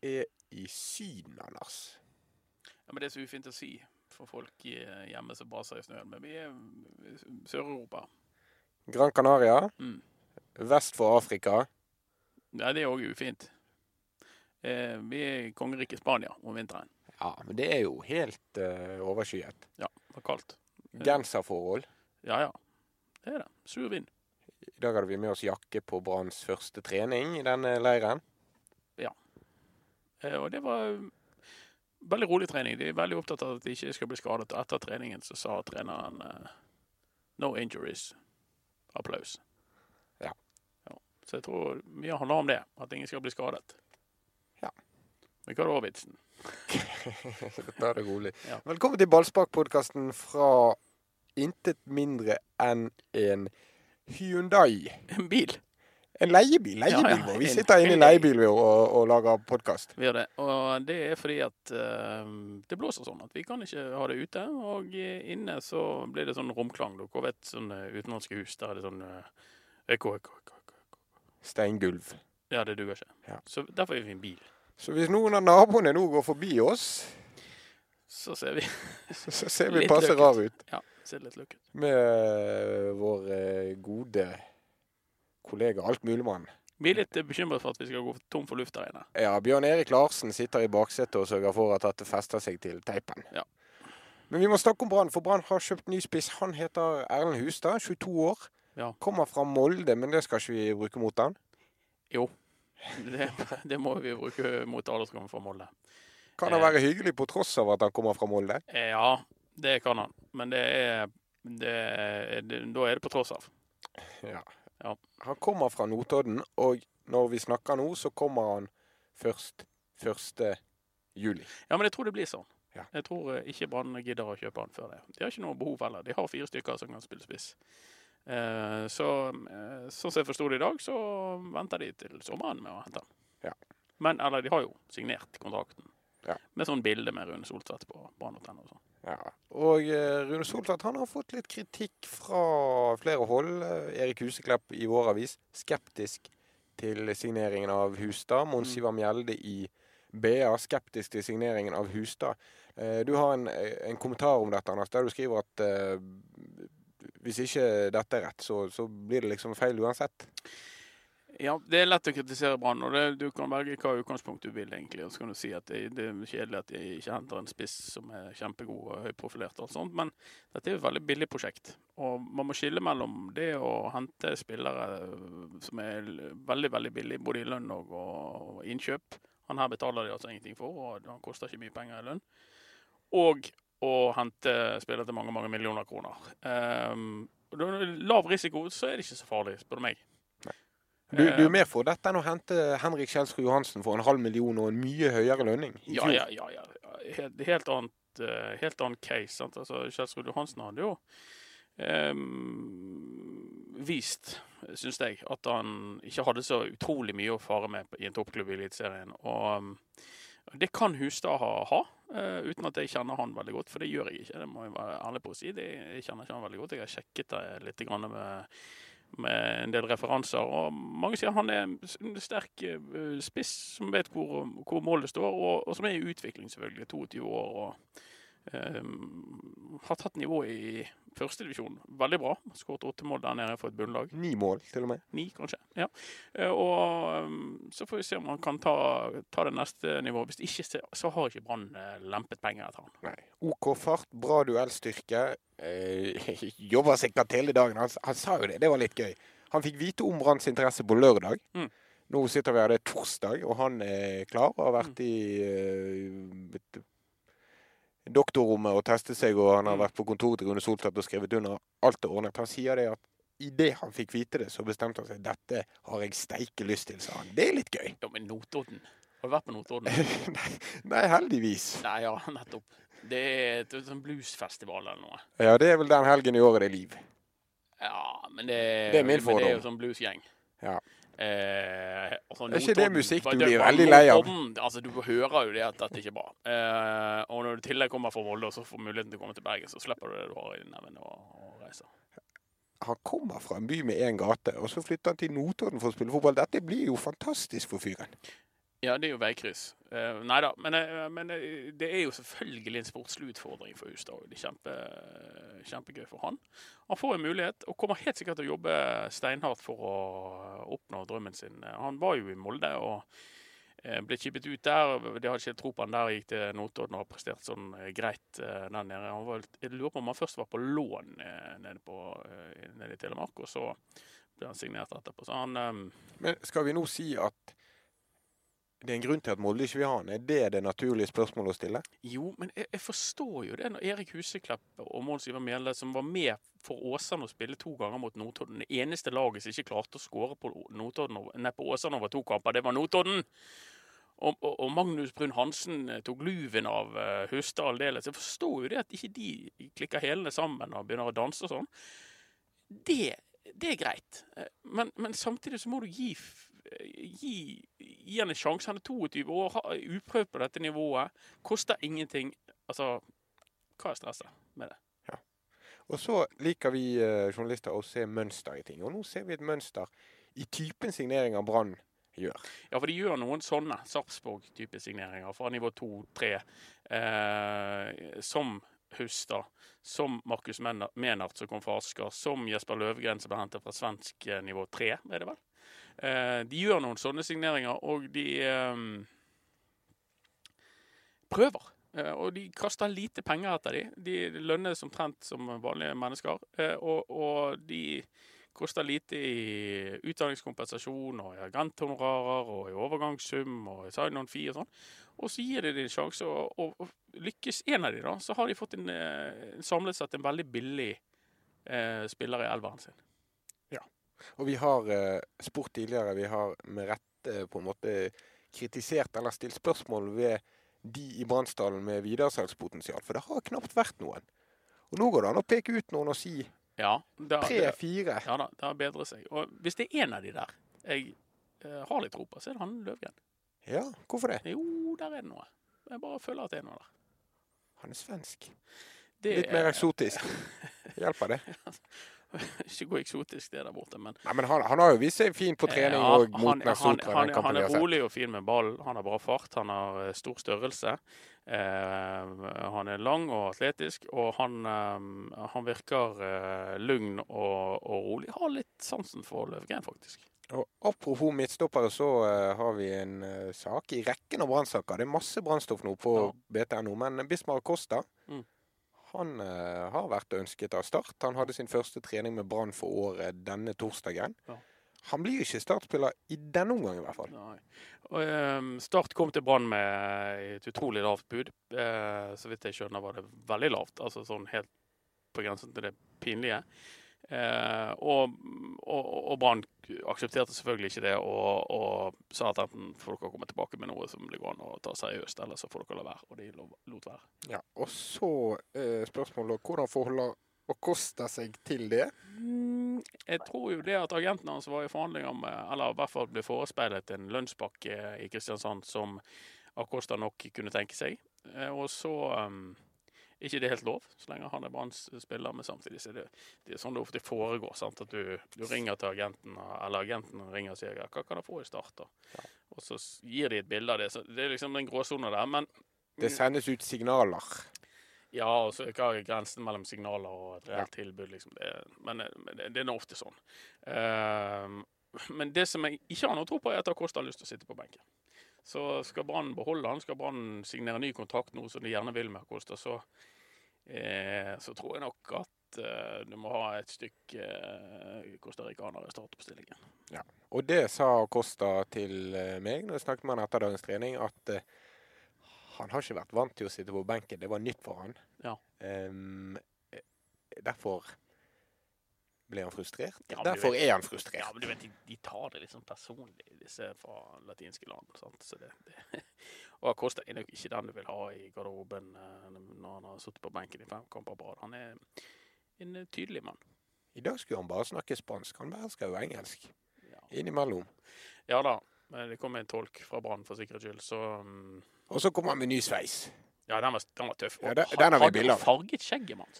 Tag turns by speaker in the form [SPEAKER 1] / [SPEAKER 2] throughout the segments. [SPEAKER 1] er i Syden, Anders.
[SPEAKER 2] Ja, men det er så ufint å si for folk i- hjemme som baser i snøen. Men vi er i Sør-Europa.
[SPEAKER 1] Gran Canaria.
[SPEAKER 2] Mm.
[SPEAKER 1] Vest for Afrika.
[SPEAKER 2] Nei, det er òg ufint. Eh, vi er i kongeriket Spania om vinteren.
[SPEAKER 1] Ja, men det er jo helt eh, overskyet.
[SPEAKER 2] Ja, det er kaldt.
[SPEAKER 1] Genserforhold.
[SPEAKER 2] Ja, ja. Det er det. Sur vind.
[SPEAKER 1] I dag hadde vi med oss jakke på Branns første trening i denne leiren.
[SPEAKER 2] Eh, og det var um, veldig rolig trening. De er veldig opptatt av at de ikke skal bli skadet. Og etter treningen så sa treneren eh, no injuries. Applaus.
[SPEAKER 1] Ja.
[SPEAKER 2] Ja. Så jeg tror mye handler om det. At ingen skal bli skadet.
[SPEAKER 1] Ja.
[SPEAKER 2] Men hva var vitsen?
[SPEAKER 1] Ta det rolig.
[SPEAKER 2] Ja.
[SPEAKER 1] Velkommen til Ballspark-podkasten fra intet mindre enn en Hyundai.
[SPEAKER 2] En bil.
[SPEAKER 1] En leiebil. Leiebil,
[SPEAKER 2] Ja, ja,
[SPEAKER 1] vår. Vi
[SPEAKER 2] en-
[SPEAKER 1] sitter inne i
[SPEAKER 2] en
[SPEAKER 1] leiebil vi, og, og lager podkast.
[SPEAKER 2] Vi gjør det. Og det er fordi at eh, det blåser sånn at vi kan ikke ha det ute. Og eh, inne så blir det sånn romklang. Dere vet sånne utenlandske hus. Der er det sånn eh, ekko, ekko, ekko. ekko.
[SPEAKER 1] Steingulv.
[SPEAKER 2] Ja, det duger ikke.
[SPEAKER 1] Ja.
[SPEAKER 2] Så derfor er vi en bil.
[SPEAKER 1] Så hvis noen av naboene nå går forbi oss,
[SPEAKER 2] Så ser vi
[SPEAKER 1] så- så ser vi
[SPEAKER 2] Litt
[SPEAKER 1] passe
[SPEAKER 2] løket.
[SPEAKER 1] rar ut
[SPEAKER 2] Ja, ser litt lukket.
[SPEAKER 1] med eh, vår eh, gode kollega Altmuligmann.
[SPEAKER 2] Vi er litt eh, bekymret for at vi skal gå tom for luft der inne.
[SPEAKER 1] Ja, Bjørn Erik Larsen sitter i baksetet og sørger for at dette fester seg til teipen.
[SPEAKER 2] Ja.
[SPEAKER 1] Men vi må snakke om Brann, for Brann har kjøpt ny spiss. Han heter Erlend Hustad, 22 år.
[SPEAKER 2] Ja.
[SPEAKER 1] Kommer fra Molde, men det skal ikke vi bruke mot han.
[SPEAKER 2] Det, det må vi bruke mot alle som kommer fra Molde.
[SPEAKER 1] Kan han
[SPEAKER 2] Eh.
[SPEAKER 1] være hyggelig på tross av at han kommer fra Molde?
[SPEAKER 2] Eh, Ja, det kan han. Men det er, det er det, Da er det på tross av.
[SPEAKER 1] Han kommer fra Notodden, og når vi snakker nå, så kommer han først 1. juli.
[SPEAKER 2] Ja, men jeg tror det blir sånn.
[SPEAKER 1] Ja.
[SPEAKER 2] Jeg tror eh, ikke Brann gidder å kjøpe han før det. De har ikke noe behov heller. De har fire stykker som kan spille spiss. Eh, så eh, sånn som jeg forsto det i dag, så venter de til sommeren med å hente han.
[SPEAKER 1] Ja.
[SPEAKER 2] Men, eller de har jo signert kontrakten.
[SPEAKER 1] Ja.
[SPEAKER 2] Med sånn bilde med Rune Soltvedt på Brann og sånn.
[SPEAKER 1] Ja. Og eh, Rune Soltvedt han har fått litt kritikk fra flere hold. Eh, Erik Huseklepp i vår avis skeptisk til signeringen av Hustad. Mons
[SPEAKER 2] Mm.
[SPEAKER 1] Ivar Mjelde i BA skeptisk til signeringen av Hustad. Eh, du har en, en kommentar om dette, Anders, der du skriver at eh, hvis ikke dette er rett, så, så blir det liksom feil uansett.
[SPEAKER 2] Ja, det er lett å kritisere Brann, og det, du kan velge hva utgangspunkt du vil, egentlig. Og så kan du si at det, det er kjedelig at de ikke henter en spiss som er kjempegod og høyprofilert og alt sånt, men dette er jo et veldig billig prosjekt. Og man må skille mellom det å hente spillere øh, som er l- veldig, veldig billig, både i lønn og, og innkjøp. Han her betaler de altså ingenting for, og han koster ikke mye penger i lønn. Og å hente spillere til mange, mange millioner kroner. Ehm, og da er det lav risiko, så er det ikke så farlig, spør du meg.
[SPEAKER 1] Du, du
[SPEAKER 2] Eh,
[SPEAKER 1] er mer for dette enn å hente Henrik Kjelsrud Johansen for en halv million og en mye høyere lønning. i
[SPEAKER 2] Ja,
[SPEAKER 1] fjor.
[SPEAKER 2] ja, ja. ja. Helt, helt, annet, eh, helt annen case. Sant? Altså, Kjelsrud Johansen hadde jo ehm, vist, syns jeg, at han ikke hadde så utrolig mye å fare med på- i en toppklubb i Eliteserien. Og ehm, det kan Hustad ha, ha eh, uten at jeg kjenner han veldig godt, for det gjør jeg ikke. Det må jeg være ærlig på å si. Det, jeg kjenner ikke han veldig godt. Jeg har sjekket det litt grann med med en del referanser, og mange sier han er en sterk eh, spiss som vet hvor, hvor målet står, og, og som er i utvikling, selvfølgelig. 22 år og eh, har tatt nivået i førstedivisjon veldig bra. Skåret åtte mål der nede for et bunnlag.
[SPEAKER 1] Ni mål, til og med.
[SPEAKER 2] Ni, kanskje. Ja. Eh, Og um, så får vi se om han kan ta, ta det neste nivået. Hvis ikke, så- så har ikke Brann eh, lempet penger etter han.
[SPEAKER 1] Nei. OK fart, bra duellstyrke. Eh, jobber sikkert hele dagen. Han, s- han sa jo det, det var litt gøy. Han fikk vite om Branns interesse på lørdag.
[SPEAKER 2] Mm.
[SPEAKER 1] Nå sitter vi her, det er torsdag, og han er klar. og Har
[SPEAKER 2] Mm.
[SPEAKER 1] vært i eh, et- doktorrommet og testet seg, og han har
[SPEAKER 2] Mm.
[SPEAKER 1] vært på kontoret til Rune Soltvedt og skrevet under. Alt er ordnet. Han sier det at idet han fikk vite det, så bestemte han seg. Dette har jeg steike lyst til, sa han. Det er litt gøy.
[SPEAKER 2] Ja, men Notodden. Har du vært på Notodden?
[SPEAKER 1] Nei, Nei, heldigvis.
[SPEAKER 2] Nei, ja, nettopp. Det er et, et sånn bluesfestival eller noe.
[SPEAKER 1] Ja, det er vel den helgen i året det er liv.
[SPEAKER 2] Ja, men det,
[SPEAKER 1] Det er min
[SPEAKER 2] men Det er
[SPEAKER 1] fordom.
[SPEAKER 2] jo sånn bluesgjeng.
[SPEAKER 1] Ja.
[SPEAKER 2] Eh, altså,
[SPEAKER 1] Er ikke det
[SPEAKER 2] Notodden-
[SPEAKER 1] musikk du
[SPEAKER 2] det-
[SPEAKER 1] blir
[SPEAKER 2] bare
[SPEAKER 1] veldig lei av?
[SPEAKER 2] Notodden, Altså, du hører jo det at dette ikke er bra. Eh, og når du i tillegg kommer fra Molde og så får muligheten til å komme til Bergen, så slipper du det du har i neven og, og reiser.
[SPEAKER 1] han kommer fra en by med én gate, og så flytter han til Notodden for å spille fotball. Dette blir jo fantastisk for fyren.
[SPEAKER 2] Ja, det er jo veikryss. Uh, nei da, men, eh, men eh, det er jo selvfølgelig en sportslig utfordring for Hustad. og Det er kjempe, kjempegøy for han. Han får en mulighet, og kommer helt sikkert til å jobbe steinhardt for å oppnå drømmen sin. Eh, Han var jo i Molde og eh, ble kippet ut der. De hadde ikke helt tro på han der, gikk til Notodden og har prestert sånn eh, greit eh, der nede. Han var, vel- jeg lurer på om han først var på lån eh, nede, på, eh, nede i Telemark, og så ble han signert etterpå. Så han eh,
[SPEAKER 1] Men skal vi nå si at det er en grunn til at Molde ikke vil ha han? Er det det naturlige spørsmålet å stille?
[SPEAKER 2] Jo, men jeg, jeg forstår jo det. Når Erik Huseklepp og Mons Ivar Mjelde, som var med for Åsane å spille to ganger mot Notodden Det eneste laget som ikke klarte å skåre på, Notodden over- nei, på Åsane over to kamper, det var Notodden! Og, og, og Magnus Brun Hansen eh, tok luven av uh, Hustad aldeles. Jeg forstår jo det at ikke de klikker hælene sammen og begynner å danse og sånn. Det, det er greit. Eh, Men, men samtidig så må du gi, f- eh, gi, gi han en sjanse. Han er 22 år, har- er uprøvd på dette nivået. Koster ingenting. Altså, hva er stresset med det?
[SPEAKER 1] Og så liker vi eh, journalister å se mønster i ting. Og nå ser vi et mønster i typen signeringer Brann gjør.
[SPEAKER 2] Ja, for de gjør noen sånne Sarpsborg-type signeringer fra nivå 2-3, eh, som Hustad, som Markus Menna- Menart som kom fra Asker, som Jesper Løvgren som ble hentet fra svensk eh, nivå 3, er det vel? Eh, de gjør noen sånne signeringer, og de eh, prøver. Eh, og de kaster lite penger etter dem. De lønnes omtrent som vanlige mennesker. Eh, og, og de koster lite i utdanningskompensasjon og i agenthonorarer og i overgangssum og i sign-on fee og sånn. Og så gir de det en sjanse, og, og, og lykkes en av de da, så har de fått en, eh, samlet sett en veldig billig eh, spiller i elveren sin.
[SPEAKER 1] Og vi har eh, spurt tidligere, vi har med rette eh, på en måte kritisert eller stilt spørsmål ved de i Brannsdalen med videresalgspotensial, for det har knapt vært noen. Og nå går det an å peke ut noen og si
[SPEAKER 2] Ja, det, det,
[SPEAKER 1] tre-fire.
[SPEAKER 2] ja da, det har bedret seg. Og hvis det er en av de der jeg eh, har litt tro på, så er det han Løvgren.
[SPEAKER 1] Ja, hvorfor det?
[SPEAKER 2] Jo, der er det noe. Jeg bare føler at det er noe der.
[SPEAKER 1] Han er svensk.
[SPEAKER 2] Det
[SPEAKER 1] Litt mer
[SPEAKER 2] er
[SPEAKER 1] eksotisk. Hjelper det?
[SPEAKER 2] ikke gå eksotisk, det der borte, men
[SPEAKER 1] Nei, men han, han har jo vist seg fin på trening
[SPEAKER 2] Ja,
[SPEAKER 1] og mot
[SPEAKER 2] han- han-
[SPEAKER 1] Nasotra.
[SPEAKER 2] han-
[SPEAKER 1] den kampen
[SPEAKER 2] Han
[SPEAKER 1] vi
[SPEAKER 2] er
[SPEAKER 1] har sett.
[SPEAKER 2] rolig og fin med ball. Han har bra fart, han har eh, stor størrelse. Eh, han er lang og atletisk, og han, eh, han virker eh, lugn og, og rolig. Har litt sansen for Løvgren, faktisk.
[SPEAKER 1] Og apropos midtstoppere, så eh, har vi en eh, sak i rekken av brannsaker. Det er masse brannstoff nå på
[SPEAKER 2] Ja.
[SPEAKER 1] BTNO, men Bismar Costa
[SPEAKER 2] Mm.
[SPEAKER 1] han eh, har vært ønsket av Start. Han hadde sin første trening med Brann for året denne torsdagen.
[SPEAKER 2] Ja.
[SPEAKER 1] Han blir ikke startspiller i denne omgang, i hvert fall.
[SPEAKER 2] Nei. Og, ehm, start kom til Brann med et utrolig lavt bud. Eh, så vidt jeg skjønner, var det veldig lavt. Altså sånn helt på grensen til det pinlige. Eh, og og, og Brann aksepterte selvfølgelig ikke det og, og sa at enten får dere komme tilbake med noe som det går an å ta seriøst, eller så får dere la være. Og de lo- lot være.
[SPEAKER 1] Ja, og så eh, spørsmålet hvordan forholder Acosta seg til det?
[SPEAKER 2] Mm, Jeg tror jo det at agenten hans var i forhandlinger med, eller i hvert fall ble forespeilet en lønnspakke eh, i Kristiansand som Acosta nok kunne tenke seg. Eh, Og så um, er ikke det helt lov, så lenge han er Branns spiller, men samtidig så er det, det er sånn det ofte foregår. sant? At du, du ringer til agenten, eller agenten ringer og sier hva kan jeg få i start, da? Og så s- gir de et bilde av det. Så det er liksom den gråsona der. Men
[SPEAKER 1] Det sendes ut signaler.
[SPEAKER 2] ja, og så hva er grensen mellom signaler og et reelt tilbud? Liksom. Det, er- men men det, det er nå ofte sånn. Ehm, men det som jeg ikke har noe tro på, er at Acosta har lyst til å sitte på benken. Så skal Brann beholde han, skal Brann signere ny kontrakt nå, som de gjerne vil med Acosta, så, eh, så tror jeg nok at eh, du må ha et stykke eh, costaricanere i startoppstillingen.
[SPEAKER 1] Og det sa Costa til eh, meg når jeg snakket med han etter dagens trening, at eh, han har ikke vært vant til å sitte på benken. Det var nytt for han.
[SPEAKER 2] Ja.
[SPEAKER 1] Ehm, eh, derfor ble han frustrert.
[SPEAKER 2] Ja, men du
[SPEAKER 1] derfor
[SPEAKER 2] vet-
[SPEAKER 1] er han frustrert.
[SPEAKER 2] Ja, men du vet, de, de tar det liksom personlig, disse fra latinske land. Sant? Så det, det. Og Acosta er nok ikke den du vil ha i garderoben eh, når han har sittet på benken i fem kamper på rad. Han er en eh, tydelig mann.
[SPEAKER 1] I dag skulle han bare snakke spansk. Han behersker jo engelsk.
[SPEAKER 2] Ja,
[SPEAKER 1] Innimellom.
[SPEAKER 2] ja da, men det kom en tolk fra Brann for sikkerhets skyld, så mm,
[SPEAKER 1] Og så kommer han med ny sveis.
[SPEAKER 2] Ja, den var, den var tøff.
[SPEAKER 1] Ja, den- den har vi
[SPEAKER 2] Hadde
[SPEAKER 1] bilder av.
[SPEAKER 2] farget skjegget mann.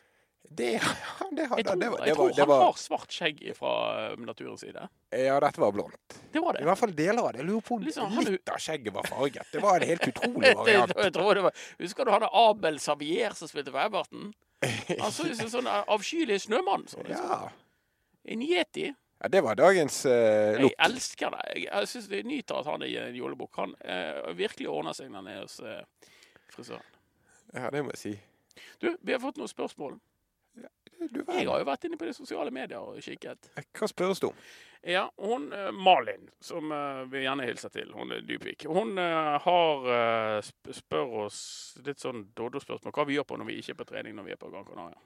[SPEAKER 1] Det, ja, det, har-
[SPEAKER 2] Jeg tror,
[SPEAKER 1] det, var-
[SPEAKER 2] jeg
[SPEAKER 1] det var-
[SPEAKER 2] tror
[SPEAKER 1] det
[SPEAKER 2] han
[SPEAKER 1] var-
[SPEAKER 2] har svart skjegg fra eh, naturens side.
[SPEAKER 1] Ja, dette var blondt.
[SPEAKER 2] Det var
[SPEAKER 1] I
[SPEAKER 2] det.
[SPEAKER 1] hvert fall deler av det. Jeg lurer på om
[SPEAKER 2] Liksom, han-
[SPEAKER 1] litt av skjegget var farget. Det var en helt utrolig
[SPEAKER 2] Jeg, jeg,
[SPEAKER 1] variant.
[SPEAKER 2] tror det var. Husker du han der Abel Savier som spilte for Everton? Han så ut som en sånn eh, avskyelig snømann. Så det.
[SPEAKER 1] Ja.
[SPEAKER 2] En yeti.
[SPEAKER 1] ja, det var dagens eh,
[SPEAKER 2] Jeg
[SPEAKER 1] look.
[SPEAKER 2] elsker det. Jeg, jeg syns jeg nyter at han er i en jolebukk. Han eh, virkelig ordner seg når han er hos eh, frisøren.
[SPEAKER 1] Ja, det må jeg si.
[SPEAKER 2] Du, vi har fått noen spørsmål.
[SPEAKER 1] Du
[SPEAKER 2] Jeg
[SPEAKER 1] verden.
[SPEAKER 2] har jo vært inne på de sosiale medier og kikket.
[SPEAKER 1] Hva spørres det om?
[SPEAKER 2] Ja, hun eh, Malin, som eh, vi gjerne hilser til, hun er dypvik, hun eh, har eh, sp spør oss litt sånn dodo-spørsmål. Hva vi gjør på når vi ikke er på trening når vi er på Gran Canaria.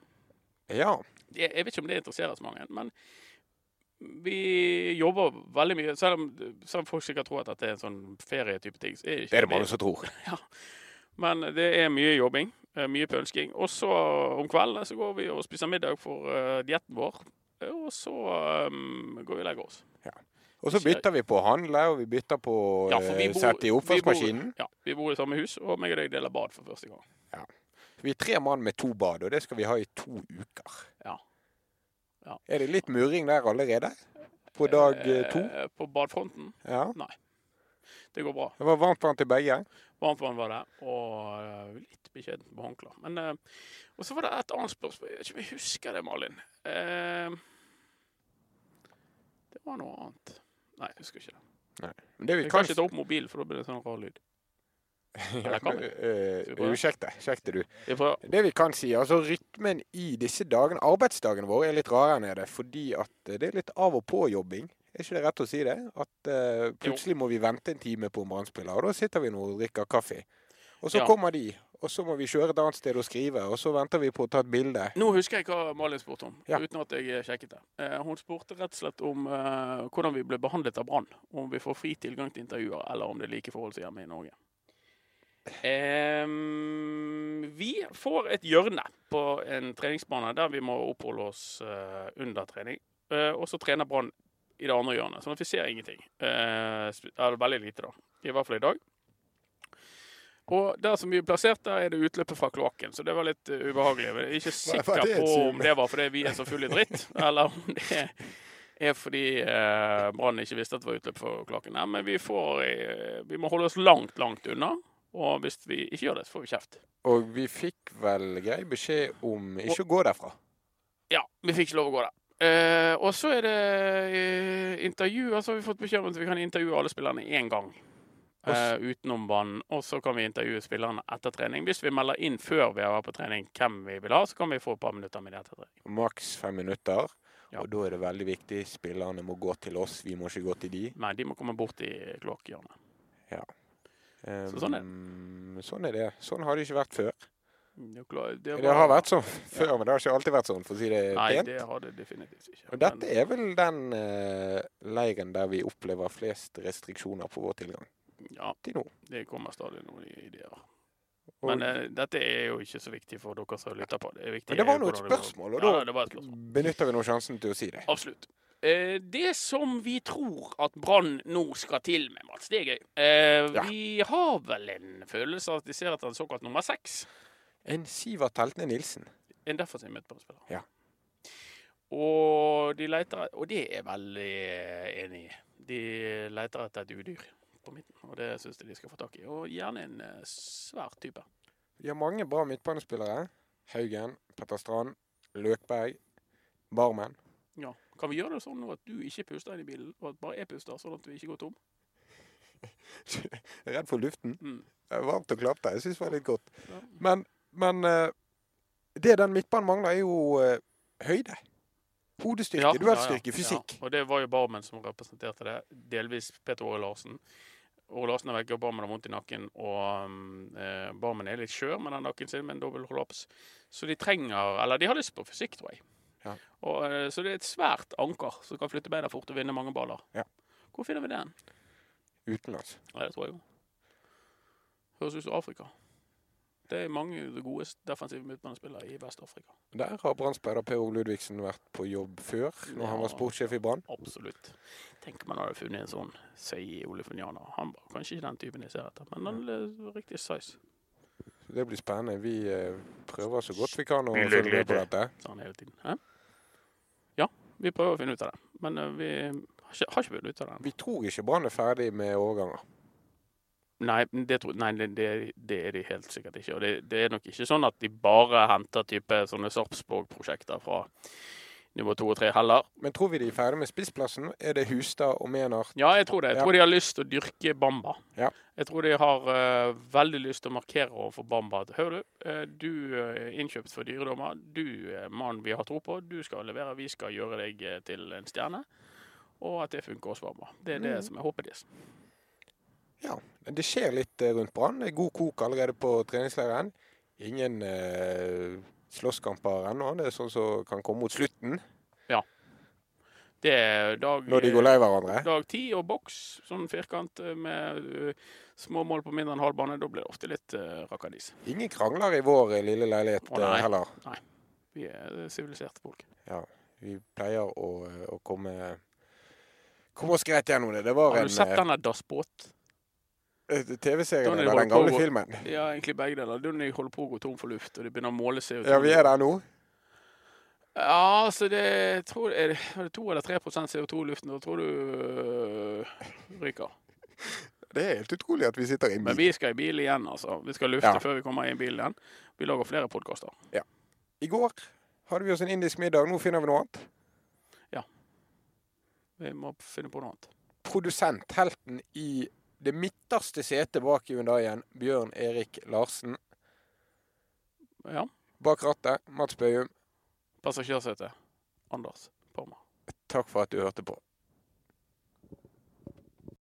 [SPEAKER 1] Ja.
[SPEAKER 2] jeg, jeg vet ikke om det interesserer så mange, men vi jobber veldig mye. Selv om, selv om folk sikkert tror at dette er en sånn ferietype ting, så er
[SPEAKER 1] Det
[SPEAKER 2] ikke
[SPEAKER 1] er det mange som tror.
[SPEAKER 2] Men det er mye jobbing, eh, mye pølsking. Og så om kveldene så går vi og spiser middag for eh, dietten vår. Eh, Og så eh, går vi og legger oss.
[SPEAKER 1] Og så bytter vi på å handle, og vi bytter på å
[SPEAKER 2] Ja, for vi bor-
[SPEAKER 1] sette i oppvaskmaskinen.
[SPEAKER 2] Vi bor, ja, vi bor i samme hus, og meg og deg deler bad for første gang.
[SPEAKER 1] Vi er tre mann med to bad, og det skal vi ha i to uker.
[SPEAKER 2] Ja. Ja.
[SPEAKER 1] Er det litt murring der allerede? På dag eh, to?
[SPEAKER 2] Eh, På badfronten.
[SPEAKER 1] Ja.
[SPEAKER 2] Det går bra.
[SPEAKER 1] Det var varmt vann til begge.
[SPEAKER 2] Varmt vann var det, og eh, litt beskjedent på håndklær. Men, eh, og så var det et annet spørsmål. Jeg vet ikke om jeg husker det, Malin. Eh, det var noe annet. Nei, jeg husker ikke det.
[SPEAKER 1] Men Det vi
[SPEAKER 2] Jeg
[SPEAKER 1] kan
[SPEAKER 2] kan ikke ta opp mobilen, for da blir det sånn rar lyd. Eller kan vi? Skal vi prøve?
[SPEAKER 1] uh, Sjekk det. Sjekk det, du.
[SPEAKER 2] Vi prøver.
[SPEAKER 1] Det vi kan si, altså rytmen i disse dagene, arbeidsdagene våre, er litt rarere enn det, fordi at eh, det er litt av og på-jobbing. Er ikke det rett å si det? At eh, plutselig må vi vente en time på en brannspiller, og da sitter vi nå og drikker kaffe. Og så
[SPEAKER 2] Ja.
[SPEAKER 1] kommer de, og så må vi kjøre et annet sted og skrive, og så venter vi på å ta et bilde.
[SPEAKER 2] Nå husker jeg hva Malin spurte om,
[SPEAKER 1] Ja.
[SPEAKER 2] uten at jeg sjekket det. Eh, hun spurte rett og slett om eh, hvordan vi ble behandlet av Brann. Om vi får fri tilgang til intervjuer, eller om det er like forhold som hjemme i Norge. Em, vi får et hjørne på en treningsbane der vi må oppholde oss eh, under trening. Eh, og så trener Brann i det andre hjørnet, sånn at vi ser ingenting. Eh, sp- eller veldig lite, da. I hvert fall i dag. Og der som vi er plassert, der er det utløpet fra kloakken, så det var litt eh, ubehagelig. Jeg er ikke sikker
[SPEAKER 1] det et
[SPEAKER 2] på
[SPEAKER 1] zoom?
[SPEAKER 2] om det var fordi vi er så fulle i dritt, eller om det er fordi eh, Brann ikke visste at det var utløp fra kloakken. Nei, men vi, får, eh, vi må holde oss langt, langt unna. Og hvis vi ikke gjør det, så får vi kjeft.
[SPEAKER 1] Og vi fikk vel grei beskjed om ikke å gå derfra.
[SPEAKER 2] Ja, vi fikk ikke lov å gå der. Eh, og så er det eh, intervjuer, så har vi fått beskjed om at vi kan intervjue alle spillerne én gang.
[SPEAKER 1] Og s-
[SPEAKER 2] eh, utenom banen. Og så kan vi intervjue spillerne etter trening. Hvis vi melder inn før vi har vært på trening hvem vi vil ha, så kan vi få et par minutter med det etter trening.
[SPEAKER 1] Maks fem minutter.
[SPEAKER 2] Ja.
[SPEAKER 1] Og da er det veldig viktig. Spillerne må gå til oss, vi må ikke gå til de.
[SPEAKER 2] Nei, de må komme bort i kloakkhjørnet. Så sånn er det.
[SPEAKER 1] Um, sånn er det. Sånn har det ikke vært før.
[SPEAKER 2] Det er klar- det
[SPEAKER 1] Det
[SPEAKER 2] var-
[SPEAKER 1] har vært sånn før, men det har ikke alltid vært sånn, for å si det
[SPEAKER 2] Nei,
[SPEAKER 1] pent.
[SPEAKER 2] det har det definitivt ikke.
[SPEAKER 1] Og dette er vel den eh, leiren der vi opplever flest restriksjoner på vår tilgang
[SPEAKER 2] Men, ja,
[SPEAKER 1] til nå.
[SPEAKER 2] det kommer stadig noen ideer.
[SPEAKER 1] Og,
[SPEAKER 2] Men eh, dette er jo ikke så viktig for dere som lytter på. Det, er viktig
[SPEAKER 1] men det var
[SPEAKER 2] er jo
[SPEAKER 1] nå et
[SPEAKER 2] hvordan det
[SPEAKER 1] spørsmål, og
[SPEAKER 2] Ja,
[SPEAKER 1] da
[SPEAKER 2] det var et spørsmål.
[SPEAKER 1] benytter vi nå sjansen til å si det.
[SPEAKER 2] Absolutt. Eh, det som vi tror at Brann nå skal til med, Mats, det er gøy. Eh,
[SPEAKER 1] Ja.
[SPEAKER 2] Vi har vel en følelse av at de ser etter en såkalt nummer seks.
[SPEAKER 1] En Sivert Heltne Nilsen.
[SPEAKER 2] En defensiv midtbanespiller.
[SPEAKER 1] Ja.
[SPEAKER 2] Og de leter Og det er jeg veldig eh, enig i. De leter etter et udyr på midten, og det syns jeg de skal få tak i. Og gjerne en eh, svær type.
[SPEAKER 1] Vi har mange bra midtbanespillere. Haugen, Petter Strand, Løkberg, Barmen.
[SPEAKER 2] Ja. Kan vi gjøre det sånn nå at du ikke puster inn i bilen, og at bare jeg puster, sånn at vi ikke går tom?
[SPEAKER 1] Jeg er redd for luften.
[SPEAKER 2] Mm.
[SPEAKER 1] Det er varmt og klapt der. Jeg syns det var litt godt.
[SPEAKER 2] Ja.
[SPEAKER 1] Men, men eh, det den midtbanen mangler, er jo eh, høyde. Hodestyrke, duellstyrke, fysikk.
[SPEAKER 2] Ja. Og det var jo Barmen som representerte det. Delvis Peter Åre Larsen. Åre Larsen er vekk, og Barmen har vondt i nakken. Og um, eh, Barmen er litt skjør med den nakken sin, med en dobbel kollaps. Så de trenger Eller de har lyst på fysikk, tror jeg.
[SPEAKER 1] Ja.
[SPEAKER 2] Og, eh, så det er et svært anker som kan flytte beina fort og vinne mange baller.
[SPEAKER 1] Ja.
[SPEAKER 2] Hvor finner vi den?
[SPEAKER 1] Utenlands.
[SPEAKER 2] Ja, det tror jeg jo. Høres ut som Afrika. Det er mange gode defensive midtbanespillere i Vest-Afrika.
[SPEAKER 1] Der har Brann-speider Per Ove Ludvigsen vært på jobb før, når han
[SPEAKER 2] Ja.
[SPEAKER 1] var sportssjef i Brann.
[SPEAKER 2] Absolutt. Tenk om man hadde funnet en sånn Sei Olefuniana. Han var kanskje ikke den typen jeg ser etter, men han er riktig size.
[SPEAKER 1] Det blir spennende. Vi eh, prøver så godt vi kan å
[SPEAKER 2] Vi
[SPEAKER 1] følge med på
[SPEAKER 2] gleder.
[SPEAKER 1] dette.
[SPEAKER 2] sa han hele tiden. Hæ? Ja, vi prøver å finne ut av det. Men eh, vi har ikke, har ikke funnet ut av det.
[SPEAKER 1] Vi tror ikke Brann er ferdig med overganger.
[SPEAKER 2] Nei, men det, tror, nei det, det- det er de helt sikkert ikke. Og det, det er nok ikke sånn at de bare henter type sånne Sarpsborg-prosjekter fra nivå to og tre heller.
[SPEAKER 1] Men tror vi de er ferdig med spissplassen? Er det Hustad og Menart?
[SPEAKER 2] Ja, jeg tror det. Jeg
[SPEAKER 1] Ja.
[SPEAKER 2] tror de har lyst til å dyrke Bamba.
[SPEAKER 1] Ja.
[SPEAKER 2] Jeg tror de har eh, veldig lyst til å markere overfor Bamba at hører du, eh, du er innkjøpt for dyredommer. Du er mannen vi har tro på. Du skal levere. Vi skal gjøre deg eh, til en stjerne. Og at det funker hos Bamba. Det er det
[SPEAKER 1] Mhm.
[SPEAKER 2] som er håpet deres.
[SPEAKER 1] Det skjer litt eh, rundt Brann. Det er god kok allerede på treningsleiren. Ingen eh, slåsskamper ennå. Det er sånn som kan komme mot slutten,
[SPEAKER 2] Det er dag, eh,
[SPEAKER 1] når de går lei hverandre.
[SPEAKER 2] dag ti og boks, sånn firkant eh, med eh, små mål på mindre enn halv bane. Da blir det ofte litt uh, rakadis.
[SPEAKER 1] Ingen krangler i vår eh, lille leilighet
[SPEAKER 2] Å, nei.
[SPEAKER 1] eh, heller.
[SPEAKER 2] Vi er eh, siviliserte folk.
[SPEAKER 1] Vi pleier å, eh, å komme Komme oss greit gjennom det. Det var
[SPEAKER 2] Har
[SPEAKER 1] en
[SPEAKER 2] du sett
[SPEAKER 1] eh,
[SPEAKER 2] denne dassbåt?
[SPEAKER 1] TV-serie
[SPEAKER 2] Donald
[SPEAKER 1] av den
[SPEAKER 2] Wahlberg
[SPEAKER 1] gamle
[SPEAKER 2] og-
[SPEAKER 1] filmen.
[SPEAKER 2] Ja, egentlig begge deler. Det er når de holder på å gå tom for luft, og de begynner å måle CO2.
[SPEAKER 1] Ja, vi er der nå.
[SPEAKER 2] Ja, så det jeg tror Er det var det to eller tre prosent CO2 i luften? Da tror du øh, ryker.
[SPEAKER 1] Det er helt utrolig at vi sitter i en
[SPEAKER 2] Men
[SPEAKER 1] bil.
[SPEAKER 2] vi skal i bil igjen, altså. Vi skal lufte
[SPEAKER 1] Ja.
[SPEAKER 2] før vi kommer i bil igjen. Vi lager flere podkaster.
[SPEAKER 1] I går hadde vi oss en indisk middag. Nå finner vi noe annet.
[SPEAKER 2] Vi må finne på noe annet.
[SPEAKER 1] Produsent, helten i det midterste setet bak Hyundaien, Bjørn Erik Larsen.
[SPEAKER 2] Ja.
[SPEAKER 1] Bak rattet, Mats Bøyum.
[SPEAKER 2] Passasjersete. Anders Parma.
[SPEAKER 1] Takk for at du hørte på.